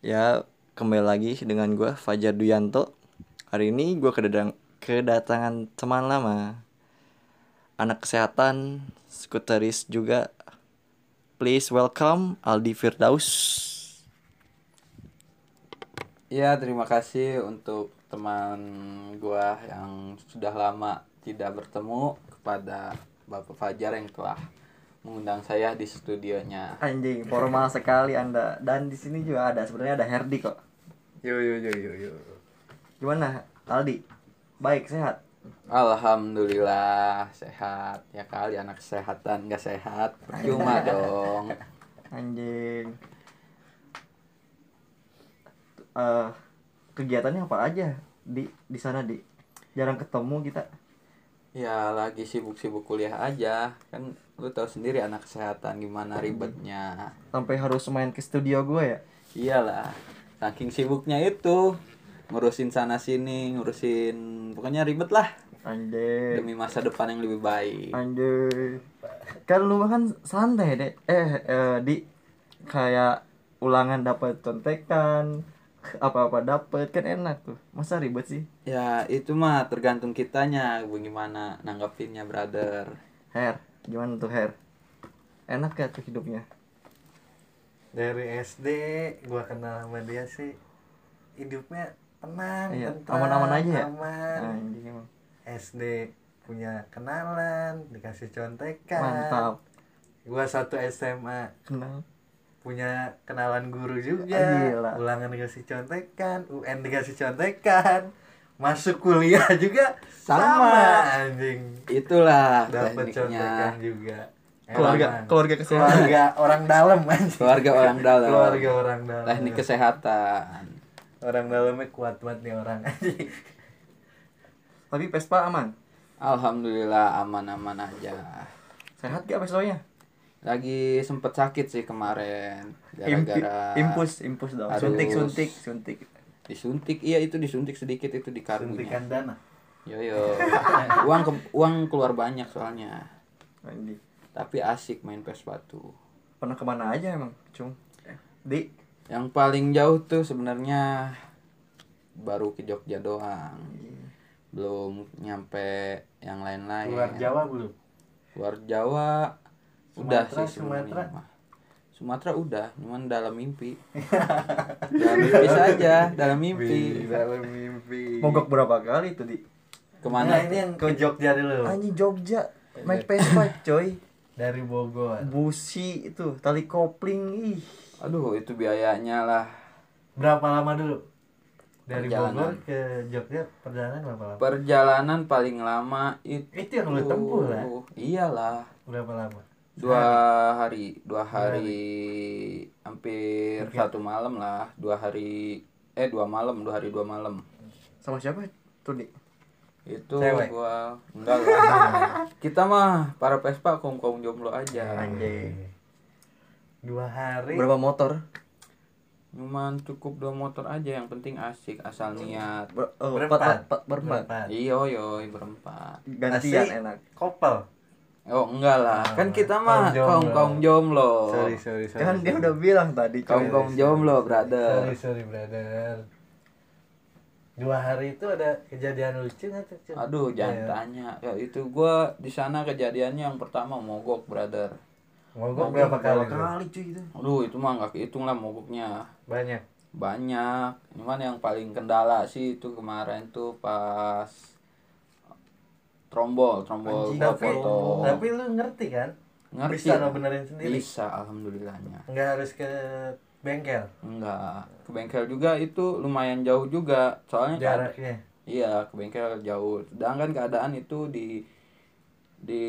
Ya, kembali lagi dengan gue Fajar Duyanto. Hari ini gue kedatang kedatangan teman lama, anak kesehatan, skuteris juga. Please welcome Aldi Firdaus. Ya, terima kasih untuk teman gua yang sudah lama tidak bertemu kepada Bapak Fajar yang telah mengundang saya di studionya. Anjing, formal sekali Anda. Dan di sini juga ada sebenarnya ada Herdi kok. Yo yo yo yo yo. Gimana, Aldi? Baik, sehat. Alhamdulillah sehat ya kali anak kesehatan nggak sehat percuma dong Anjing. Eh, kegiatannya apa aja di di sana di jarang ketemu kita ya lagi sibuk-sibuk kuliah aja kan lu tahu sendiri anak kesehatan gimana ribetnya sampai harus main ke studio gue ya iyalah saking sibuknya itu ngurusin sana sini ngurusin pokoknya ribet lah anjing demi masa depan yang lebih baik anjing kan lu kan santai deh eh, eh, di kayak ulangan dapat contekan apa-apa dapet kan enak tuh masa ribet sih ya itu mah tergantung kitanya bagaimana nanggapinnya brother Her, gimana tuh Her? Enak gak tuh hidupnya? Dari SD gua kenal sama dia sih hidupnya tenang, Iya, tentram, aman-aman aja ya? Aman. Anjing emang. SD punya kenalan, dikasih contekan. Mantap. Gua satu SMA Kenal. punya kenalan guru juga. Ah, gila. Ulangan dikasih contekan, UN dikasih contekan. Masuk kuliah juga sama, Sama. anjing. itulah Dapat contekan tekniknya juga. Eh, Keluarga Emang. keluarga kesehatan. keluarga orang dalam anjing. keluarga orang dalam Keluarga orang dalam. teknik kesehatan orang dalamnya kuat banget nih orang Tapi Vespa aman? alhamdulillah aman-aman aja Sehat gak Vespanya? lagi sempet sakit sih kemarin Impi- gara-gara impus, impus dong. Harus. Suntik, suntik, suntik. disuntik iya itu disuntik sedikit itu di karungnya suntikan dana yo yo uang ke- uang keluar banyak soalnya Anjing. tapi asik main pes batu Nah, Pernah kemana aja emang, Cung? Di, yang paling jauh tuh sebenarnya baru ke Jogja doang belum nyampe yang lain-lain luar Jawa belum Luar Jawa udah Sumatera, sih sebelumnya Sumatera. mah. Sumatera udah cuman dalam mimpi dalam mimpi saja dalam mimpi dalam mimpi mogok berapa kali tuh, Di? nah kemana ini tuh? yang ke Jogja dulu Anjing Jogja. Iya. Naik Vespa, coy. dari Bogor Busi itu, tali kopling, ih. aduh itu biayanya lah berapa lama dulu dari Perjalanan. Bogor ke Jogja perjalanan berapa lama perjalanan paling lama itu Itu yang lu tempuh lah. iyalah berapa lama dua Nah. hari dua hari hampir satu malam lah dua hari eh dua malam dua hari dua malam Sama siapa tuh, Di? itu Cewek? gua enggak lah kita mah para pespa kaum kaum jomblo aja Anjing. dua hari Berapa motor? cuman cukup dua motor aja yang penting asik asal niat Ber- oh, berempat Iya. empat- empat- berempat. iyo yo berempat Gantian Asik. enak. kopel oh enggak lah kan kita mah kaum Kaum Nah, jomblo. kaum jomblo sorry sorry sorry Kan dia udah bilang tadi, kaum coy. kaum jomblo brother sorry sorry brother dua hari itu ada kejadian lucu nggak tuh Cun? aduh jangan tanya ya itu gua di sana kejadiannya yang pertama mogok brother mogok berapa kali tuh? kali cuy itu aduh itu mah nggak kehitung lah mogoknya banyak banyak cuman yang paling kendala sih itu kemarin tuh pas trombol trombol gua tapi foto tapi lu ngerti kan Ngerti. ya? bisa lo benerin sendiri bisa alhamdulillahnya nggak harus ke bengkel enggak ke bengkel juga itu lumayan jauh juga soalnya kan keada- jaraknya iya ke bengkel jauh sedangkan keadaan itu di di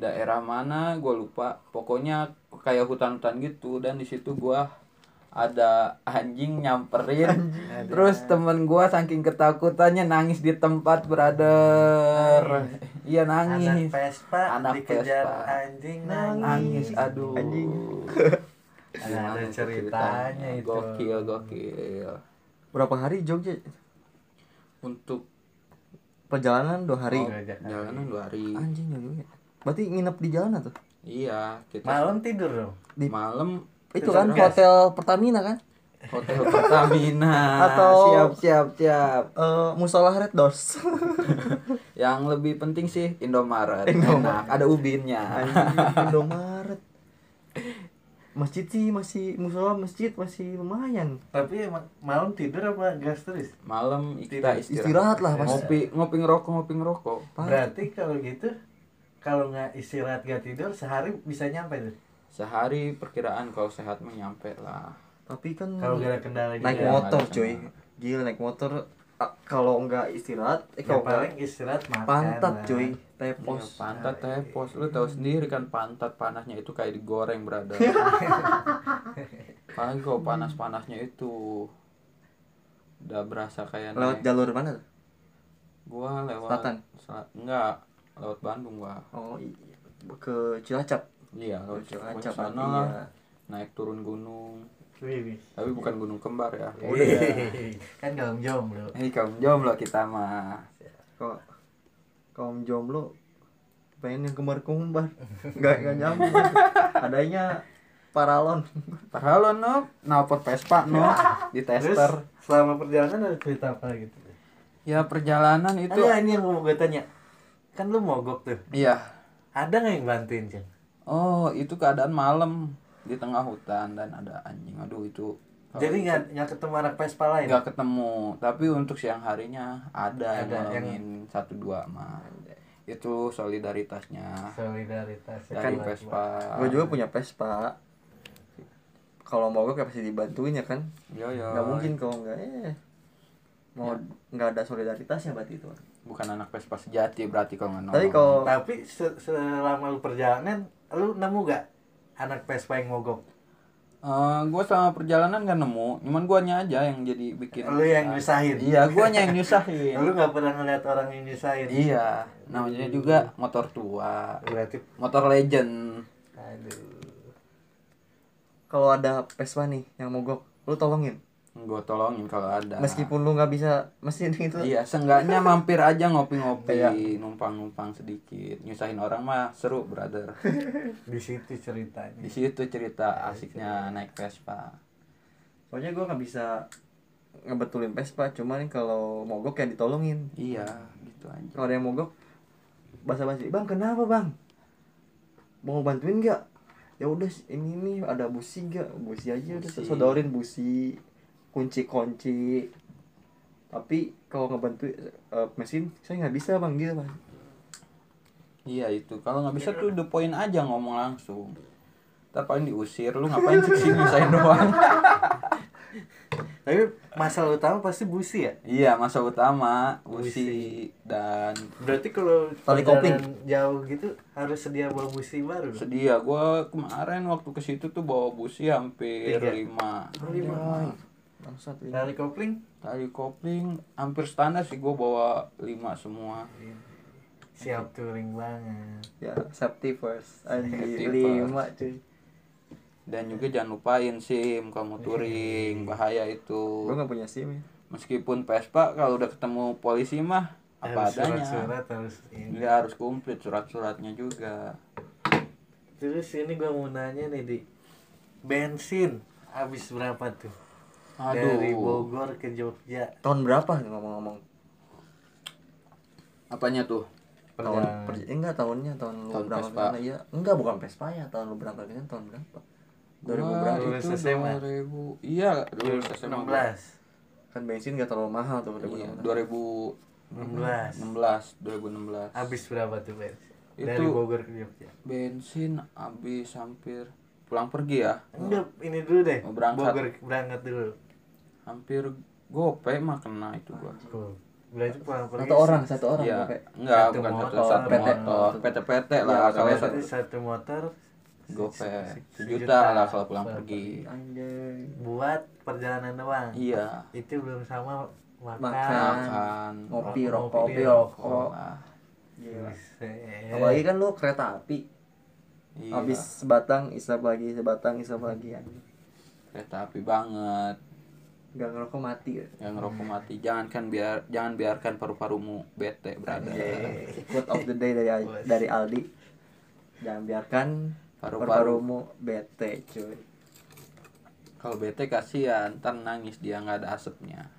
daerah mana gue lupa pokoknya kayak hutan-hutan gitu dan di situ gua ada anjing nyamperin terus temen gua saking ketakutannya nangis di tempat brother iya anak nangis Vespa Anak dikejar Vespa. anjing nangis nangis aduh Anjing. Ada Gimana tuh ceritanya itu. gokil gokil berapa hari Jogja untuk perjalanan dua hari Oh, Ya kan. jalanan dua hari anjing Jogja berarti nginep di jalan tuh iya kita malam tidur dong di- malam itu kan hotel Pertamina kan hotel Pertamina Atau- siap siap siap Eh, musola red doors yang lebih penting sih Indomaret, Indomaret. enak ada ubinnya Anjing, Indomaret masjid sih masih musola masjid masih lumayan Tapi emang malam tidur apa gas terus? malam kita Tidak, istirahat, istirahat lah pas ngopi ngopi ngerokok ngopi ngerokok Berarti kalau gitu kalau nggak istirahat nggak tidur sehari bisa nyampe tuh. sehari perkiraan kalau sehat mah nyampe lah tapi kan Kalau nggak ada kendala gitu. naik Iya, motor ada cuy kendala. gila naik motor ah, kalau nggak istirahat eh Ya kalau paling nggak istirahat makan. pantat lah. cuy Iya, tepos pantat tepos lu Hmm. tahu sendiri kan pantat panasnya itu kayak digoreng berada paling kalau panas panasnya itu udah berasa kayak lewat naik. jalur mana tuh? gua lewat Selatan? sel- enggak lewat Bandung gua oh i- ke Cilacap iya lewat Cirebon Cilacap sana iya. lah naik turun gunung Wih, wih. tapi bukan gunung kembar ya Iya. Wih, kan dalam jomblo. hei kaum jomblo kita mah kok kaum jomblo pengen yang kembar-kembar nggak nggak nyambung adanya paralon padahal lo no knalpot Vespa no di Terus tester selama perjalanan ada cerita apa gitu? ya perjalanan Itu itu ada ini yang mau gue tanya. Kan lu mogok tuh. iya Ada nggak yang bantuin Cen? Oh, itu keadaan malam di tengah hutan dan ada anjing. Aduh, itu Jadi nggak nggak ketemu anak Vespa lain. nggak ketemu. Tapi untuk siang harinya ada, yang Ada yang- nolongin satu dua mah. Itu solidaritasnya Solidaritas. Ah. dari Kan- Vespa. gue juga punya Vespa kalau mau gue pasti dibantuin ya kan Yo yo. nggak mungkin kalau nggak eh mau nggak ada solidaritasnya berarti itu Bukan anak Vespa sejati berarti kalau nggak tapi nolong. kalau Tapi se- selama lu perjalanan lu nemu gak anak Vespa yang mogok? Eh, gua selama perjalanan nggak nemu, cuman guanya aja yang jadi bikin. Lu yang nyusahin. Iya, guanya yang nyusahin. Lu nggak pernah ngeliat orang yang nyusahin. iya, namanya juga motor tua, Berarti motor legend. aduh. kalau ada Vespa nih yang mogok lu tolongin Gue tolongin kalau ada. meskipun lu nggak bisa mesin itu Iya. Iya, seenggaknya mampir aja ngopi-ngopi, numpang-numpang sedikit. Nyusahin orang mah seru, brother. Di situ ceritanya. Di situ cerita asiknya naik Vespa. soalnya gue nggak bisa ngebetulin Vespa cuman kalau mogok ya ditolongin Iya, gitu aja. kalau ada yang mogok basa basi bang kenapa bang mau bantuin nggak ya udah ini nih ada busi nggak busi aja udah Busi. sodorin busi kunci kunci tapi kalau ngebantu eh, mesin saya nggak bisa bang gitu bang Iya itu. Kalau nggak bisa tuh the point aja ngomong langsung. Ntar paling diusir, lu ngapain sih kesini nyusahin doang? Tapi masalah utama pasti busi ya. iya, masa utama, usi dan Berarti kalau Tali perjalanan jauh gitu harus sedia bawa busi baru. dong? sedia. ya. Gua kemarin waktu ke situ tuh bawa busi hampir Tiga. lima. Lima. Iya. bangsat ini. Nah. Tali kopling Tali kopling hampir standar sih gua bawa lima semua. Iya. siap touring banget. ya safety first Safety anjir lima cuy Dan juga jangan lupain SIM kamu Iya. touring, bahaya gue itu. nggak punya sim ya Meskipun Vespa kalau udah ketemu polisi mah apa harus adanya. surat-surat harus iya. ini. Dia harus komplit surat-suratnya juga. Terus ini gua mau nanya nih di bensin habis berapa tuh? Dari Aduh. Bogor ke Jogja tahun berapa nih ngomong-ngomong Apanya tuh? tahun perjalanan. per, eh, enggak tahunnya tahun lu Tahun berangkat Vespa. kesana, iya enggak bukan Vespa ya tahun lu berangkat kesana tahun berapa 2000 Wah, berapa itu Lulus SMA. 2000. Iya, lulus SMA. 16 kan bensin gak terlalu mahal tuh Iya, 2000 2016, 16 2016. habis berapa tuh bensin? Dari Itu- Bogor ke Jogja bensin habis hampir pulang pergi ya. Enggak, ini dulu deh Mau berangkat. Bogor berangkat dulu Hampir gope mah kena itu gua. Cool. Berarti pulang pergi satu orang satu orang Iya, pakai enggak Satu bukan satu motor, satu PT. motor, PT-PT lah Iya, kalau satu, satu satu motor gope sejuta. sejuta lah kalau pulang pergi. anjay buat perjalanan doang Iya, Itu belum sama makan, Makan. makan ngopi Rokok, rokok ngopi, kopi Hmm. rokok rokok lah. Gila. Buset. apalagi kan lu kereta api Iya, Hmm. habis sebatang isap lagi sebatang isap lagi anjing. kereta api Eh, banget. nggak ngerokok mati ya. Yang ngerokok mati, jangankan biar jangan biarkan paru-parumu bete berada. Iya, quote of the day dari dari Aldi jangan biarkan Paru-paru. paru-parumu bete cuy Kalau bete kasihan, ntar nangis dia nggak ada asapnya.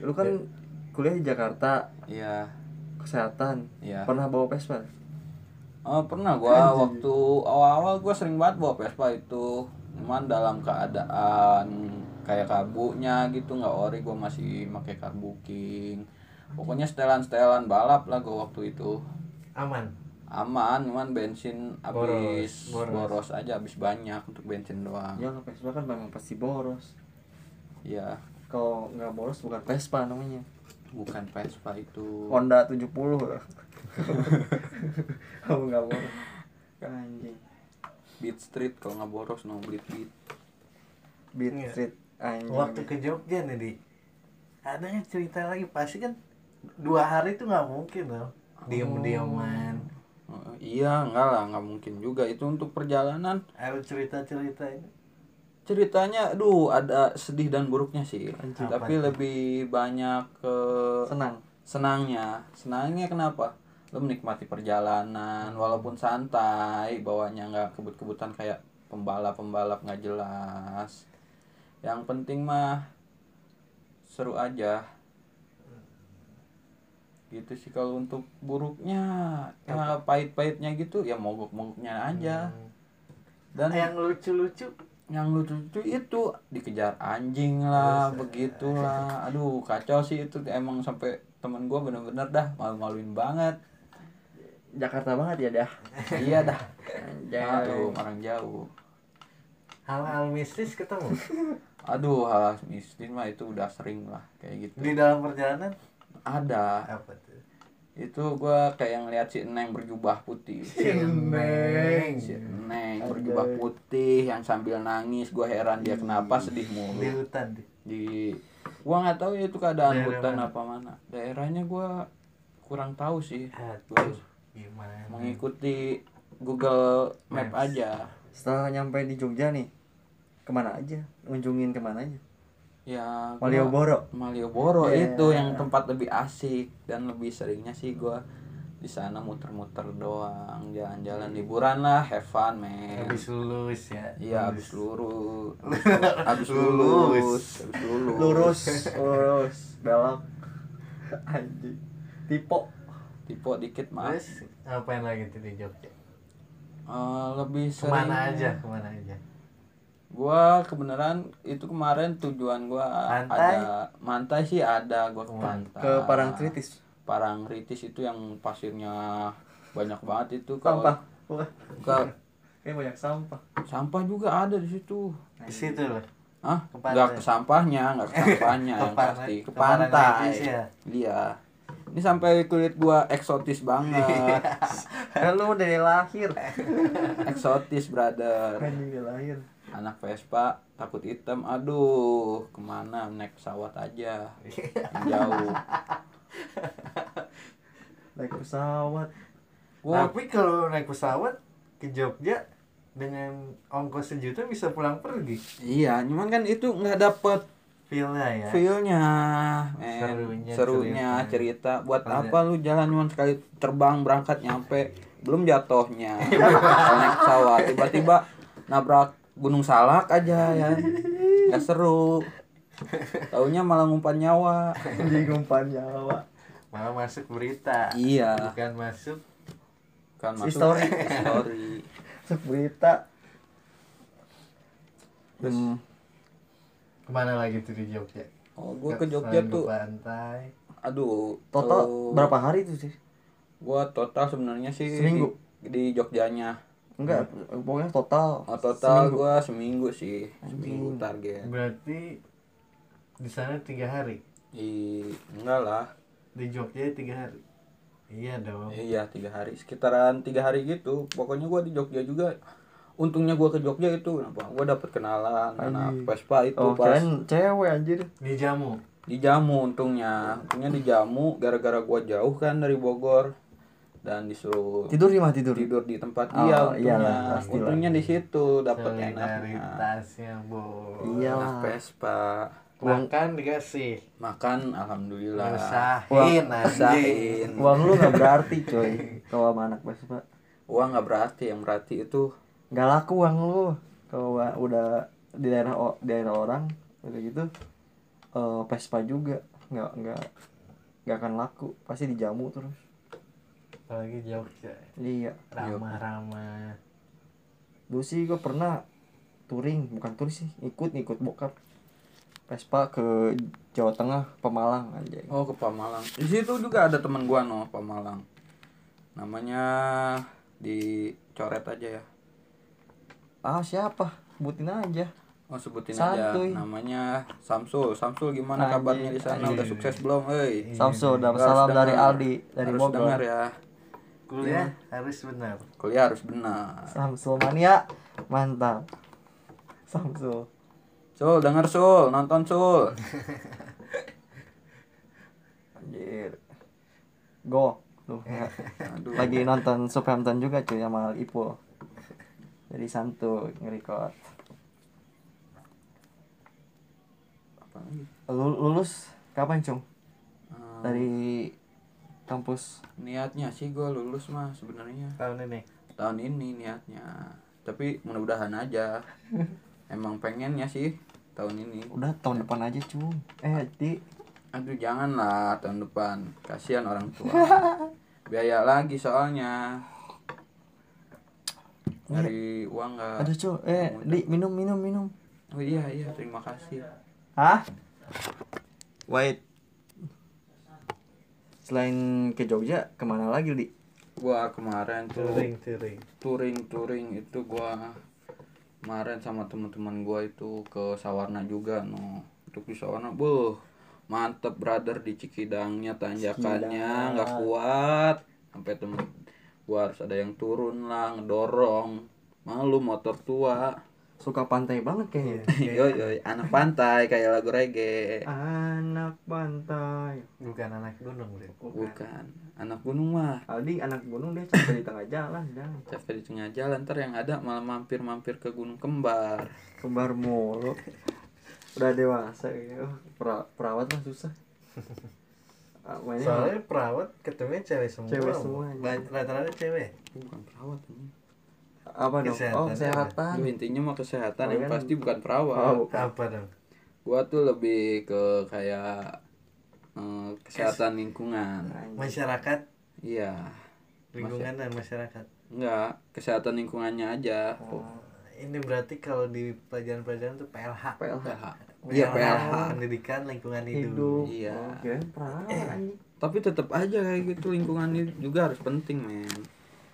Lu kan kuliah di Jakarta, Iya. kesehatan. Iya. Pernah bawa Vespa? Oh, pernah gua waktu awal-awal gua sering banget bawa Vespa itu. Cuman dalam keadaan kayak karbunya gitu nggak ori gua masih pakai karbuking. Pokoknya setelan-setelan balap lah gua waktu itu. aman Aman, cuman bensin habis boros, Boros, boros. aja habis banyak untuk bensin doang. Ya, Vespa kan memang pasti boros. Iya, Kalau nggak boros bukan Vespa namanya. bukan Vespa itu. Honda 70 lah. Kamu nggak boros. Anjing. Beat Street kalau nggak boros no Bleed Beat. Beat Iya. Street anjing. waktu ke Jogja nih di ada nggak cerita lagi pasti kan dua hari itu nggak mungkin loh diam-diaman Eh, iya, enggak lah, nggak mungkin juga itu untuk perjalanan. ada cerita-cerita ini ceritanya aduh ada sedih dan buruknya sih tapi lebih banyak ke Senang. senangnya senangnya kenapa lo menikmati perjalanan walaupun santai bawahnya nggak kebut-kebutan kayak pembalap-pembalap nggak jelas yang penting mah seru aja gitu sih kalau untuk buruknya ya, pahit-pahitnya gitu ya mogok-mogoknya aja dan yang lucu-lucu yang lucu-lucu itu dikejar anjing lah begitulah aduh kacau sih itu emang sampai temen gua bener-bener dah malu-maluin banget Jakarta banget ya dah. iya dah Anjing. aduh orang jauh hal-hal mistis ketemu aduh hal miskin mah itu udah sering lah kayak gitu di dalam perjalanan ada apa tuh itu gua kayak ngeliat si Neng berjubah putih Neng si Neng berjubah putih yang sambil nangis gua heran dia kenapa sedih di mulu hutan di di gua nggak tahu ya itu keadaan Daerah hutan mana? apa mana daerahnya gua kurang tahu sih Ah. aduh Iya. gimana mengikuti Google Map Maps. aja Setelah nyampe di Jogja nih, kemana aja? Ngunjungin kemana aja? ya gua- Malioboro. Malioboro Iya. itu yang tempat lebih asik dan lebih seringnya sih gua di sana muter-muter doang jalan-jalan liburan lah have fun men habis lulus ya iya habis lurus habis Lulus. lulus habis lulus Lurus, lurus, belok. Anjing. Tipo. tipe dikit maaf terus ngapain lagi tuh di Jogja Eh, lebih sering kemana aja kemana aja gua kebenaran itu kemarin tujuan gua Pantai? ada mantai sih ada gua ke pantai Ke Parangtritis. Parangtritis itu yang pasirnya banyak banget itu kalau Sampah. Wah, ke- kayak banyak sampah. sampah juga ada di situ di situ lah ah Ke pantai. nggak ke sampahnya nggak ke sampahnya Ke yang pantai- pasti ke ke Parangtritis pantai ya? iya ini sampai kulit gua eksotis banget Kan lu dari lahir. eksotis brother Anjing dari lahir. anak Vespa takut hitam aduh kemana naik pesawat aja Yang jauh Naik pesawat. Gua- Tapi kalau naik pesawat ke Jogja dengan ongkos sejuta bisa pulang pergi. iya cuman kan itu nggak dapet Feel-nya ya. feelnya men. Serunya, serunya, cerita. cerita. buat Ada. apa lu jalan cuma sekali terbang berangkat nyampe belum jatuhnya Kalau naik pesawat tiba-tiba nabrak gunung salak aja ya nggak seru taunya malah ngumpan nyawa Anjing umpan nyawa. Malah masuk berita. iya Bukan masuk kan masuk History. history. Masuk berita. Hmm. kemana lagi tuh di Jogja? oh gua ke Jogja Selain ke tuh Pantai. aduh Total kalau berapa hari itu sih? gua total sebenarnya sih di- Seminggu? di, Jogjanya Enggak, pokoknya Hmm. Ah, total. oh, total gua seminggu sih seminggu target Berarti di sana tiga hari. I, enggak lah Di Jogja tiga hari. Iya dong. Iya tiga hari sekitaran tiga hari gitu. Pokoknya gua di Jogja juga. Untungnya gua ke Jogja itu kenapa? Gua dapet kenalan anak Vespa itu Oh, pas kalian cewek anjir. Dijamu. dijamu untungnya. Untungnya dijamu gara-gara gua jauh kan dari Bogor dan disuruh Tidur di mah tidur. tidur di tempat Oh, dia untungnya. iyalah, pastilah. untungnya di situ dapet enaknya. Solidaritasnya, Bo. Iya. Iyalah. Anak Vespa Makan dikasih. makan alhamdulillah. Usahin anjing. Usahain. Uang lu nggak berarti coy Kalau sama anak Vespa Uang nggak berarti yang berarti itu Nggak laku uang lu kalau wa- udah di daerah o- daerah orang udah gitu eh Vespa juga nggak nggak nggak akan laku pasti dijamu terus apalagi Jogja iya Iya. ramah-ramah dulu sih gue pernah touring bukan touring sih ikut ikut bokap Vespa ke Jawa Tengah Pemalang aja Oh ke Pamalang. Di situ juga ada teman gua no Pamalang. Namanya dicoret aja ya. ah siapa sebutin aja Oh sebutin Santuy. aja namanya Samsul. Samsul gimana Anjing, kabarnya di sana? Udah sukses belum? Hei. Samsul Lu dan harus salam dari dengar. Aldi dari harus Bogor dengar ya. kuliah harus benar Kuliah harus benar. Samsul mania mantap Samsul Sul, denger Sul, nonton Sul. anjir go Duh, ya. Aduh. lagi nonton Southampton juga cuy sama Ipo jadi santuy ngerekord Apa lagi? Lu- lulus kapan cung Eh, dari kampus niatnya sih gua lulus mah sebenarnya tahun ini tahun ini niatnya. Tapi mudah-mudahan aja. Emang pengennya sih tahun ini. udah tahun depan aja cung eh di Aduh janganlah tahun depan Kasihan orang tua Biaya lagi soalnya Nyari uang gak Iya. aduh cung eh di minum minum minum Oh iya iya terima kasih Hah? Wait. Selain ke Jogja, kemana lagi, Di? Gua kemarin tuh touring touring Touring-touring itu gua Kemarin sama teman-teman gua itu Ke Sawarna juga no Untuk di Sawarna Buh Mantep brother di Cikidangnya Tanjakannya nggak kuat Sampai temen gua harus ada yang turun lah Ngedorong Malu motor tua Suka pantai banget kayaknya. Yoi, yoi, anak pantai kayak lagu reggae. Anak pantai. bukan anak gunung deh Bukan, anak gunung mah. Aldi anak gunung dia sampai di tengah jalan dah. Capek di tengah jalan, ntar yang ada malah mampir-mampir ke Gunung Kembar. Kembar mulu. Udah dewasa ya. Pra- perawat mah susah. Ah, Mainnya soalnya perawat ketemu cewek semua Cewek semua. Ba- rata-rata cewek Bukan perawat ini. apa dong? Oh, kesehatan. kesehatan. Aduh, intinya mah kesehatan yang Kalian- pasti bukan perawat. Oh, apa dong Gua tuh lebih ke kayak eh, kesehatan lingkungan. masyarakat Iya. lingkungan dan masyarakat Enggak, kesehatan lingkungannya aja. Eh, ini berarti kalau di pelajaran-pelajaran tuh PLH PLH. Iya, PLH. pendidikan lingkungan hidup hidup. Iya. Oh, kirain perawat anjing. Tapi tetap aja kayak gitu lingkungan ini juga harus penting, men.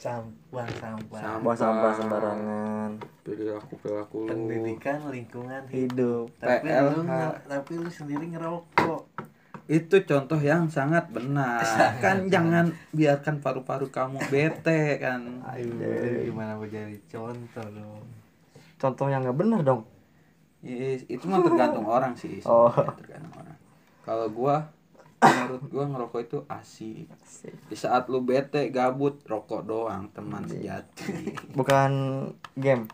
sampah sampah Buang sampah sembarangan. Perilaku perilaku lu. pendidikan lingkungan hidup Hidup. tapi PLH. lu nge- tapi lu sendiri ngerokok itu contoh yang sangat benar kan jangan biarkan paru-paru kamu bete kan Aduh, gimana mau jadi contoh dong Contoh yang nggak benar dong. Yes, itu mah tergantung orang sih Oh. sebenarnya, tergantung orang kalau gua menurut gua ngerokok itu asik di saat lu bete gabut rokok doang teman Iya. sejati Bukan game.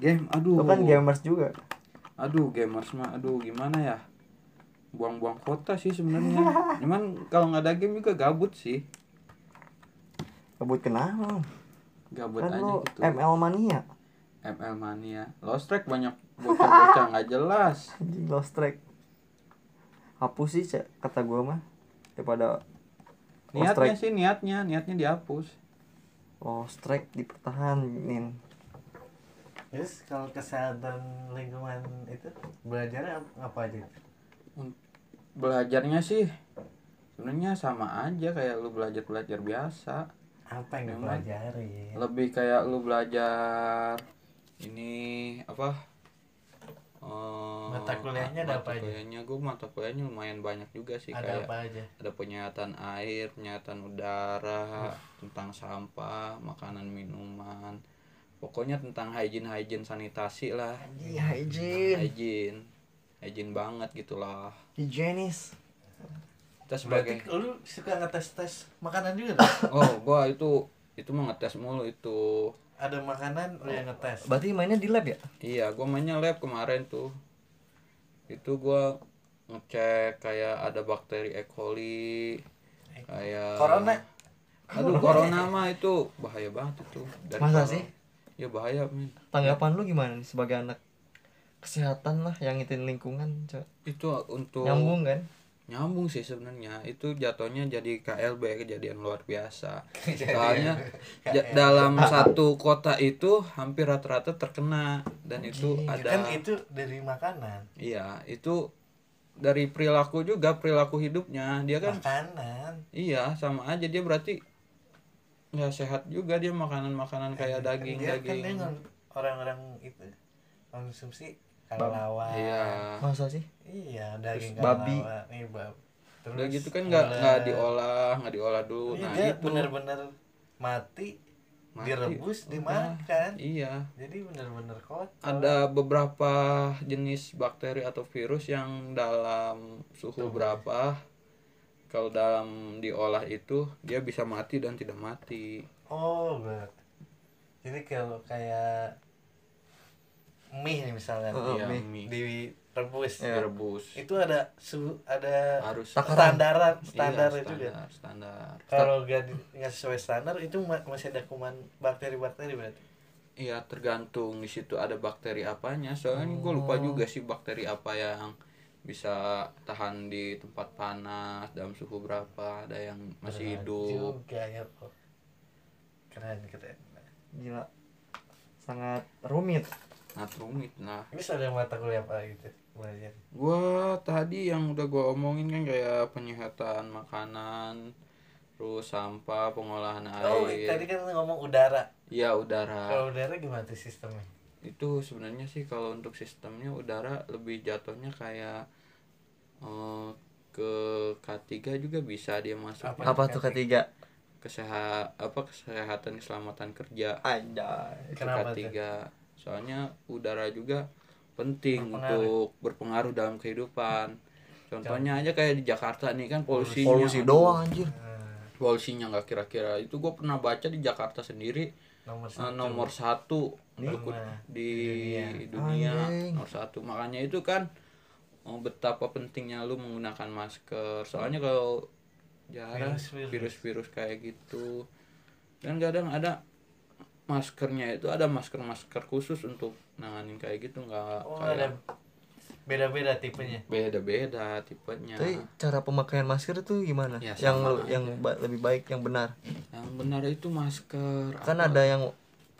game Lu aduh kan gamers juga. aduh gamers mah aduh gimana ya buang-buang kota sih sebenarnya cuman kalau nggak ada game juga gabut sih Kebut kenapa? gabut Kan aja lu gitu ML mania. ML mania Lost track banyak bocah-bocah nggak jelas Anjing lost track. Hapus sih Cek, kata gua mah daripada lost niatnya track. sih niatnya niatnya dihapus Lost track Oh, dipertahanin. terus kalau kesehatan lingkungan itu belajarnya ap- apa aja Un- belajarnya sih sebenarnya sama aja kayak lu belajar belajar biasa apa yang Memang. dipelajari lebih kayak lu belajar ini apa Eh, Mata kuliahnya mata ada apa aja? kuliahnya gue mata kuliahnya lumayan banyak juga sih ada kayak apa aja ada penyihatan air, penyihatan udara, tentang sampah, makanan, minuman. Pokoknya tentang hygiene-hygiene sanitasi lah. Iya, izin. Hygiene. Hygiene banget gitulah. Higienis. Kita berarti sebagai lu suka ngetes tes makanan juga dong? Oh, gua itu itu mah ngetes mulu itu. ada makanan lu yang ngetes Berarti mainnya di lab ya? Iya, gua mainnya lab kemarin tuh. Itu gua ngecek kayak ada bakteri E. coli E. kayak Corona. Aduh, corona mah itu bahaya banget itu. Dari Masa kalau- sih? ya bahaya men Tanggapan lu gimana nih sebagai anak kesehatan lah yang ngitin lingkungan, Cok? itu untuk Nyambung kan? nyambung sih sebenarnya itu jatuhnya jadi KLB kejadian luar biasa soalnya ja- dalam satu kota itu hampir rata-rata terkena dan itu Iya, ada kan itu dari makanan iya itu dari perilaku juga perilaku hidupnya dia kan makanan iya sama aja dia berarti nggak sehat juga dia makanan-makanan kayak daging dia Eh, kan daging dengan orang-orang itu konsumsi kelawar iya Masa sih? iya Terus daging babi. kelawar nih bab terus udah gitu kan nggak nggak diolah nggak diolah dulu Iya, nah dia itu benar-benar mati, Mati, direbus udah. dimakan iya jadi benar-benar kotor ada beberapa jenis bakteri atau virus yang dalam suhu berapa kalau dalam diolah itu dia bisa mati dan tidak mati oh bet. jadi kalau kayak mie nih misalnya Iya, mie. mie Iya, direbus direbus itu ada su ada harus standaran Iya, standar itu standar, kan standar kalau nggak di- nggak sesuai standar itu ma- masih ada kuman bakteri-bakteri berarti iya tergantung di situ ada bakteri apanya soalnya gue lupa Oh. juga sih bakteri apa yang bisa tahan di tempat panas dalam suhu berapa ada yang masih Berat hidup juga ya kok keren keren Gila. Sangat rumit. nah rumit nah ini ada mata kuliah apa gitu belajar gua tadi yang udah gua omongin kan kayak penyihatan makanan terus sampah pengolahan Oh, tadi Oh, air kan lu ngomong udara. ya udara Kalau udara gimana tuh sistemnya? itu sebenarnya sih kalau untuk sistemnya udara lebih jatuhnya kayak eh, ke K3 juga bisa dia masuk Apa? Apa tuh ketiga? kesehat apa kesehatan keselamatan kerja Ada. itu Kenapa K3 soalnya udara juga penting Berpengaruh. untuk berpengaruh dalam kehidupan contohnya aja kayak di Jakarta nih kan polusinya Polusi aduh. doang anjir. Nah, polisinya nggak kira-kira itu gue pernah baca di Jakarta sendiri nomor eh, satu. nomor satu untuk Pernah. di dunia, Anjing. nomor satu makanya itu kan oh, betapa pentingnya lu menggunakan masker soalnya kalau jarang Virus-virus. virus-virus kayak gitu dan kadang ada maskernya itu ada masker-masker khusus untuk nanganin kayak gitu nggak Oh, ada kayak beda-beda tipenya. beda-beda tipenya Tapi cara pemakaian masker itu gimana? Ya, yang sama lu- yang ba- lebih baik, yang benar. yang benar itu masker Kan apa- ada yang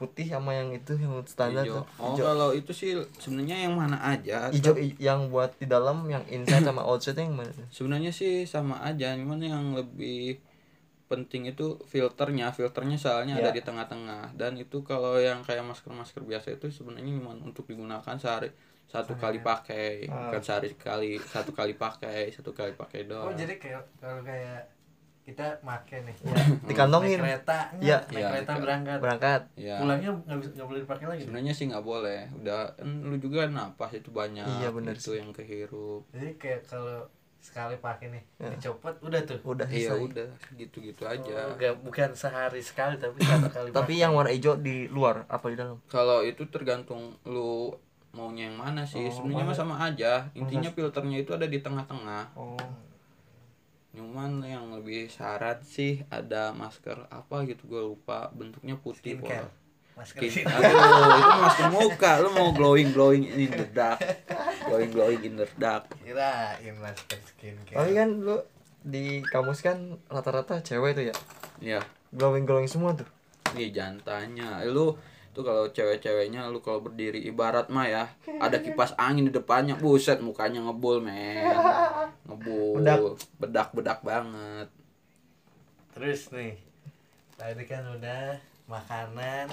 putih sama yang itu yang standar Ijo. tuh. Oh, Ijo. kalau itu sih sebenarnya yang mana aja. Ijo i- yang buat di dalam, yang inside sama outside yang mana? tuh? Sebenarnya sih sama aja, cuman yang lebih penting itu filternya. Filternya soalnya Iya. ada di tengah-tengah dan itu kalau yang kayak masker-masker biasa itu sebenarnya cuma untuk digunakan sehari satu kali pakai, Ah. bukan sehari sekali, satu kali pakai, satu kali pakai Oh, doang. jadi kayak kalau kayak kita make nih. Naik Dikantongin. kereta. Iya. Naik Iya, kereta naik berangkat. Berangkat. Ya. Pulangnya nggak bisa nggak boleh dipakai lagi. tuh. Sebenarnya sih nggak boleh. Udah kan lu juga napas itu banyak Iya, bener itu yang kehirup. Jadi kayak kalau sekali pakai nih, Iya. dicopot udah tuh. Udah Iya selesai. udah gitu-gitu Oh, aja. nggak- bukan sehari sekali tapi satu kali. Tapi yang warna hijau di luar apa di dalam? kalau itu tergantung lu maunya yang mana sih sebenarnya mah sama aja intinya filternya itu ada di tengah-tengah Oh. cuman yang lebih syarat sih ada masker apa gitu gue lupa bentuknya putih Skincare. pol. masker Skin. Aduh, itu masker muka lu mau glowing glowing in the dark glowing glowing in the dark kirain masker skincare. Tapi kan lu di kamus kan rata-rata cewek tuh ya. ya Glowing-glowing semua tuh. Ih jangan tanya Eh, Lu tuh kalau cewek-ceweknya lu kalau berdiri ibarat mah ya Ada kipas angin di depannya Buset mukanya ngebul men Ngebul Bedak-bedak banget Terus nih, tadi kan udah makanan,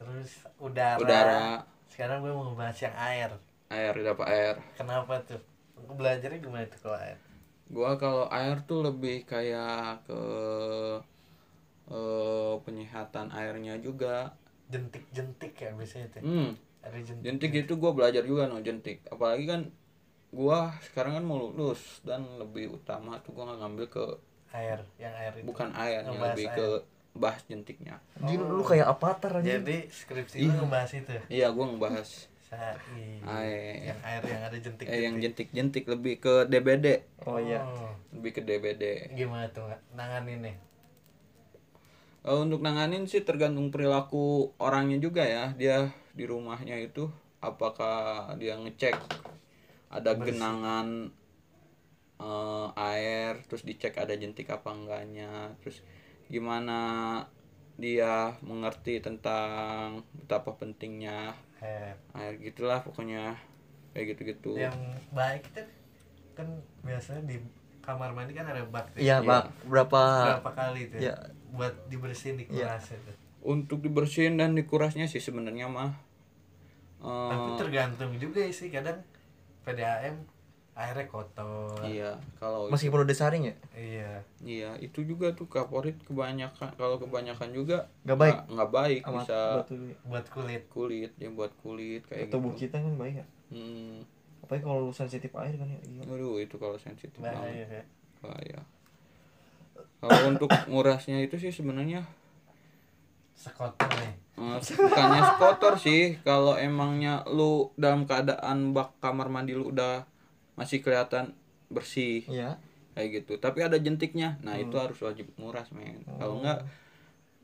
terus udara. Udara Sekarang gue mau ngebahas yang air. Air dapat air Kenapa tuh? Gue belajarnya gimana tuh kalau air? Gua kalau air tuh lebih kayak ke eh, penyihatan airnya juga Jentik-jentik ya biasanya tuh. Hmm Ada jentik. jentik itu gue belajar juga no jentik apalagi kan gua sekarang kan mau lulus dan lebih utama tuh gua nggak ngambil ke Air, yang air itu. bukan airnya Ngebahas lebih air. ke bahas jentiknya Jadi lu kayak avatar aja. Jadi skripsi lu ngebahas itu. iya gua ngebahas Sai. air Yang air yang ada jentik. eh, yang jentik-jentik lebih ke DBD Oh iya. Oh, lebih ke DBD Gimana tuh nggak? nanganin nih? Eh, untuk nanganin sih tergantung perilaku orangnya juga ya. Dia di rumahnya itu apakah dia ngecek ada genangan eh, air, terus dicek ada jentik apa enggaknya, terus gimana dia mengerti tentang betapa pentingnya Eh, air gitulah pokoknya kayak gitu-gitu. Iya. yang baik itu kan biasanya di kamar mandi kan ada bak tuh. Iya, Pak. Berapa berapa kali itu Iya. buat dibersihin di Iya. kelas itu Untuk dibersihin dan dikurasnya sih sebenarnya mah eh, Ah. tapi tergantung juga sih kadang PDAM airnya kotor Iya, kalau meskipun udah saring ya? iya iya itu juga tuh kaporit kebanyakan kalau kebanyakan juga Nggak baik. nggak- nggak baik bisa buat kulit kulit ya buat kulit kayak tubuh gitu. kita kan baik ya. Hmm, Apalagi kalau sensitif air kan ya. Iya. aduh itu kalau sensitif banget bahaya kan bahaya. Kalau untuk ngurasnya itu sih sebenarnya sekotor nih eh, bukannya kotor sih kalau emangnya lu dalam keadaan bak kamar mandi lu udah masih kelihatan bersih Iya. kayak gitu tapi ada jentiknya nah itu harus wajib nguras men kalau enggak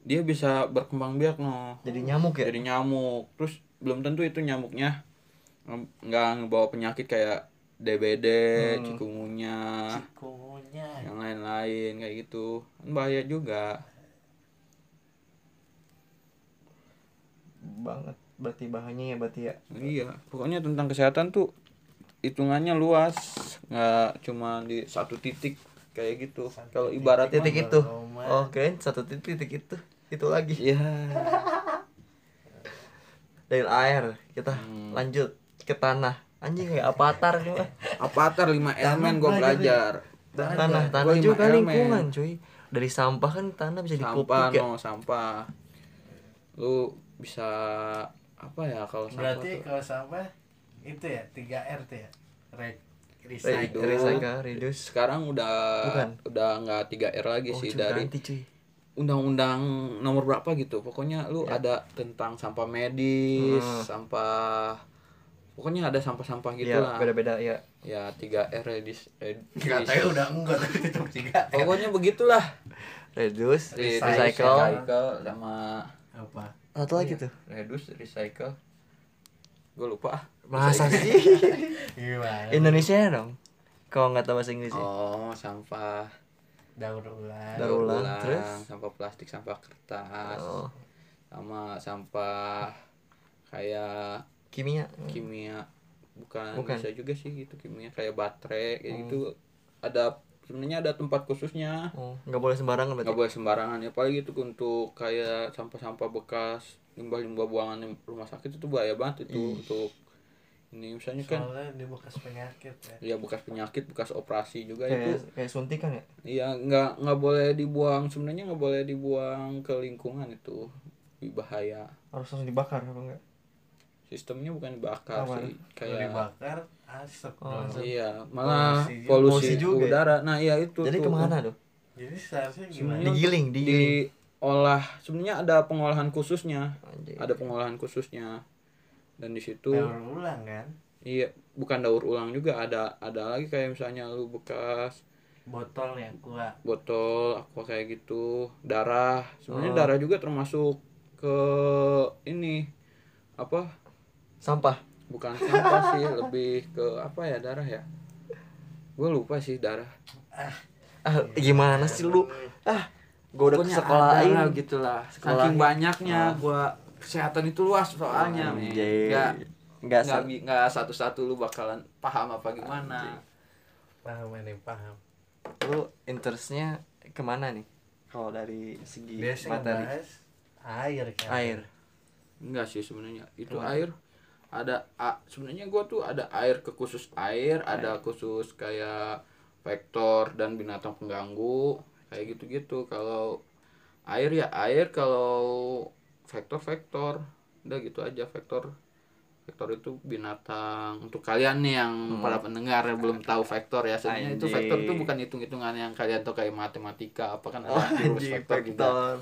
dia bisa berkembang biak no Jadi nyamuk ya? jadi nyamuk terus belum tentu itu nyamuknya em, nggak ngebawa penyakit kayak DBD cikungunya kunyah yang lain-lain kayak gitu Kan bahaya juga Banget. Berarti bahannya ya berarti ya. iya pokoknya tentang kesehatan tuh hitungannya luas nggak cuma di satu titik kayak gitu kalau ibarat Titik itu. Oh, keren. Satu titik, titik itu. Itu lagi. ya Dari air kita Hmm. lanjut ke tanah. Anjing kayak avatar gua. Avatar 5 elemen gue belajar. tanah tanah Gua lima juga elemen. lingkungan cuy dari sampah kan tanah bisa Sampah dipupuk ya no, sampah. Lu bisa apa ya kalau sampah tuh? berarti kalau sampah itu ya 3 R tuh ya Re Re- recycle recycle reduce sekarang udah Bukan. udah nggak 3 R lagi oh sih cuy dari ganti cuy undang-undang nomor berapa gitu. Pokoknya lu ada tentang sampah medis, sampah pokoknya ada ya sampah-sampah gitulah. beda beda ya Ya, 3 R redis, Gak tahu udah enggak tapi tetap 3 R Pokoknya begitulah. reduce Reduce, recycle recycle Iya. sama apa satu lagi tuh reduce recycle gue lupa ah. masa sih gimana Indonesia ya, dong kalau nggak tahu bahasa Inggris ya oh sampah daur ulang Nah, Daur ulang, terus? sampah plastik sampah kertas Oh. sama sampah kayak kimia kimia bukan, Bukan. bisa juga sih gitu kimia kayak baterai kayak gitu ada sebenarnya ada tempat khususnya oh nggak boleh sembarangan nggak berarti boleh sembarangan ya paling itu untuk kayak sampah-sampah bekas limbah-limbah buangan di rumah sakit itu bahaya banget itu untuk ini misalnya kan soalnya dia bekas penyakit ya ya bekas penyakit bekas operasi juga itu kayak kayak suntikan ya Iya nggak nggak boleh dibuang sebenarnya nggak boleh dibuang ke lingkungan itu Lebih bahaya harus langsung dibakar apa enggak sistemnya bukan dibakar Apa? sih kalau kayak dibakar asap dong iya malah Polusi juga. polusi, Polusi juga ya? udara nah iya itu jadi tuh. kemana tuh jadi seharusnya gimana Sebenarnya Digiling, digiling. diolah sebenarnya ada pengolahan khususnya Anjir. ada pengolahan khususnya dan di situ daur ulang kan iya bukan daur ulang juga ada ada lagi kayak misalnya lu bekas botol yang kuat botol aqua kayak gitu darah Oh. sebenarnya darah juga termasuk ke ini apa sampah bukan sampah sih lebih ke apa ya darah ya gue lupa sih darah ah gimana sih lu ah gua udah ke sekolah lain gitulah gitu lah saking banyaknya gua kesehatan itu luas soalnya Oh. men. Anjay. nggak Nggak nggak sa- bi- nggak satu-satu lu bakalan paham apa gimana paham ini paham gitu. lu interestnya kemana nih kalau dari segi dia sih Iya, materi ngebahas air kan air Enggak sih sebenarnya. Itu air ada a- sebenarnya gua tuh ada air ke khusus air, ada khusus kayak vektor dan binatang pengganggu kayak gitu-gitu. Kalau air ya air, kalau vektor vektor. Udah gitu aja vektor. Vektor itu binatang. Untuk kalian nih yang para pendengar yang belum tahu vektor ya, sebenarnya itu vektor itu bukan hitung-hitungan yang kalian tahu kayak matematika apa kan ada Oh, jurus Anjing, vektor Eh, juga. faktor.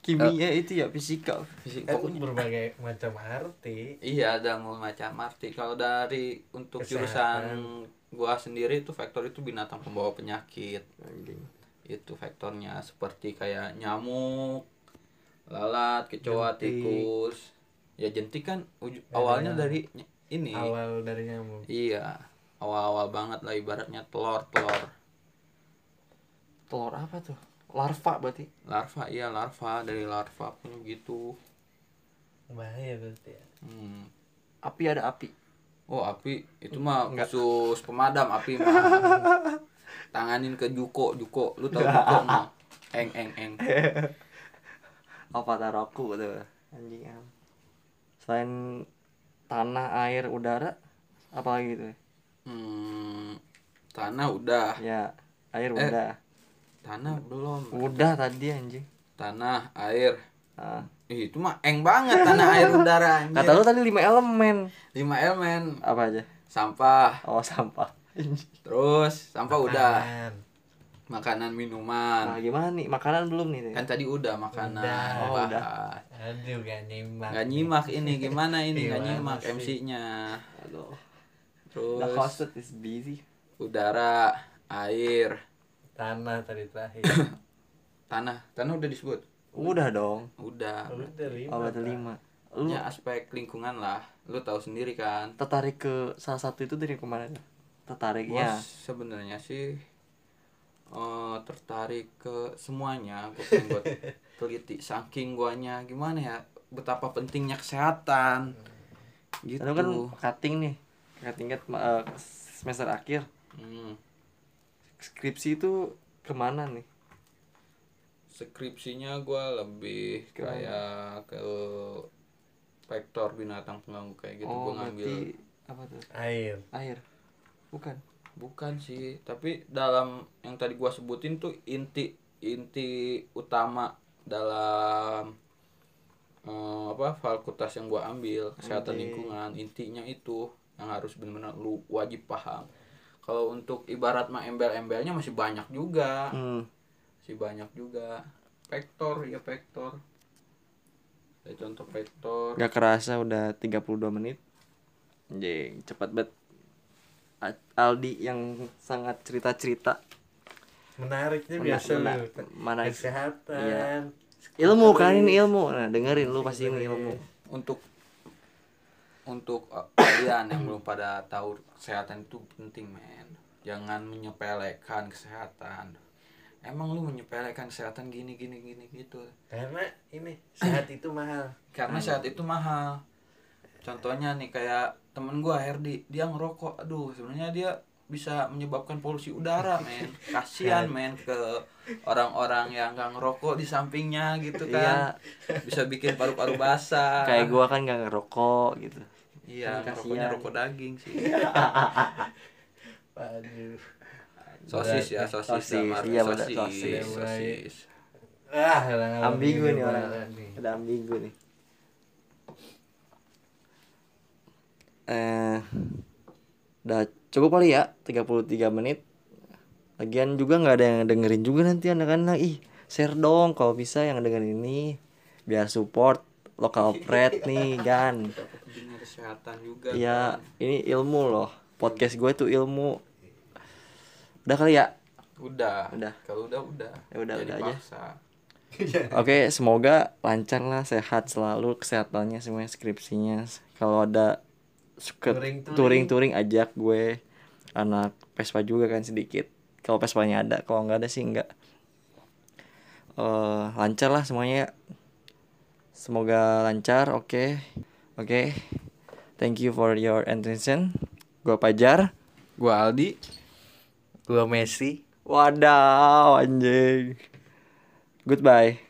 kimia Eh. itu ya fisika Fisik- kan berbagai macam arti Iya ada macam arti. Kalau dari untuk jurusan gua sendiri itu vektor itu binatang pembawa penyakit. Itu vektornya seperti kayak nyamuk, lalat kecoa Jentik. tikus ya jentik kan uju- awalnya dari ny- ini awal dari nyamuk iya awal-awal banget lah ibaratnya telur telur Telur apa tuh? Larva berarti. larva iya larva dari larva punya gitu bahaya berarti ya hmm. Api ada api. oh api itu mah khusus pemadam api mah tanganin ke juko juko lu tau juko nggak eng eng eng Avatar aku tuh. Anjing am. Selain tanah, air, udara, apalagi tuh? hmm. tanah udah Ya, air Eh. udah. tanah belum Udah tadi anjing. tanah air Ah. Ih, itu mah eng banget tanah air udara Kata anjir. lu tadi lima elemen. lima elemen Apa aja? sampah Oh, sampah. Anjing. terus sampah Oh, udah Apaan? makanan Nah, minuman gimana nih? Makanan belum nih? Teh? kan tadi udah makanan Udah. Oh, udah. bahas. aduh gak nyimak nggak nyimak ini gimana ini Iya, nggak Gimana nyimak sih? MC-nya Aduh. The terus hostess is busy. udara air tanah tadi terakhir tanah tanah udah disebut Udah dong. Iya, udah udah lima Oh, berarti Pak. lima. Lu ya aspek lingkungan lah lu tahu sendiri kan tertarik ke salah satu itu dari kemarin? Gua Tertariknya. sebenarnya sih eh, tertarik ke semuanya gue pengen buat teliti saking guanya gimana ya betapa pentingnya kesehatan gitu Lalu kan cutting nih. Cutting kan eh, semester akhir. Hmm. Skripsi itu kemana nih? skripsinya gua lebih kayak ke vektor binatang pengganggu kayak gitu oh, gua ngambil berarti apa tuh? air Air. Bukan. bukan sih tapi dalam yang tadi gua sebutin tuh inti inti utama dalam eh, apa fakultas yang gua ambil kesehatan lingkungan intinya itu yang harus benar-benar lu wajib paham kalau untuk ibarat mah embel-embelnya masih banyak juga Hmm. masih banyak juga vektor ya vektor ya, contoh vektor Gak kerasa udah 32 menit. Anjing, cepat banget. A- Aldi yang sangat cerita-cerita menariknya Mena- biasa mena- lu Oh, iya, menarik. Iya. kesehatan ilmu kan ini ilmu nah dengerin lu pasti Iya. ini ilmu untuk untuk eh, kalian yang belum pada tahu kesehatan itu penting men jangan menyepelekan kesehatan emang lu menyepelekan kesehatan gini gini gini gitu karena ini sehat itu mahal karena sehat itu mahal contohnya nih kayak temen gua Herdi dia ngerokok aduh sebenarnya dia bisa menyebabkan polusi udara men kasihan men ke orang-orang yang gak ngerokok di sampingnya gitu kan bisa bikin paru-paru basah kayak gua kan gak ngerokok gitu Iya, Kan rokoknya kasihan. rokok daging sih. Iya. waduh sosis ya, sosis, Sosis, sama iya benar, sosis. sosis, sosis. ah orang-orang ambigu ini nih orang parah nih. ada ambigu nih eh udah cukup kali ya 33 menit lagian juga nggak ada yang dengerin juga nanti anak-anak ih share dong kalau bisa yang dengerin ini biar support lokal pride nih kan Pentingnya kesehatan juga. kan. Iya, ini ilmu loh. Podcast gue tuh ilmu. Udah kali ya. Udah. Udah. Kalau udah udah. Ya udah, Jadi udah aja. paksa. Oke, semoga lancar lah, sehat selalu kesehatannya semuanya skripsinya. Kalau ada suka Touring-touring. touring-touring ajak gue anak Vespa juga kan sedikit. Kalau Vespanya ada, kalau nggak ada sih nggak. Eh, lancar lah semuanya. Semoga lancar, oke. Oke. Thank you for your attention. Gue Pajar. Gua Aldi. gua Messi Wadaw anjing. Goodbye.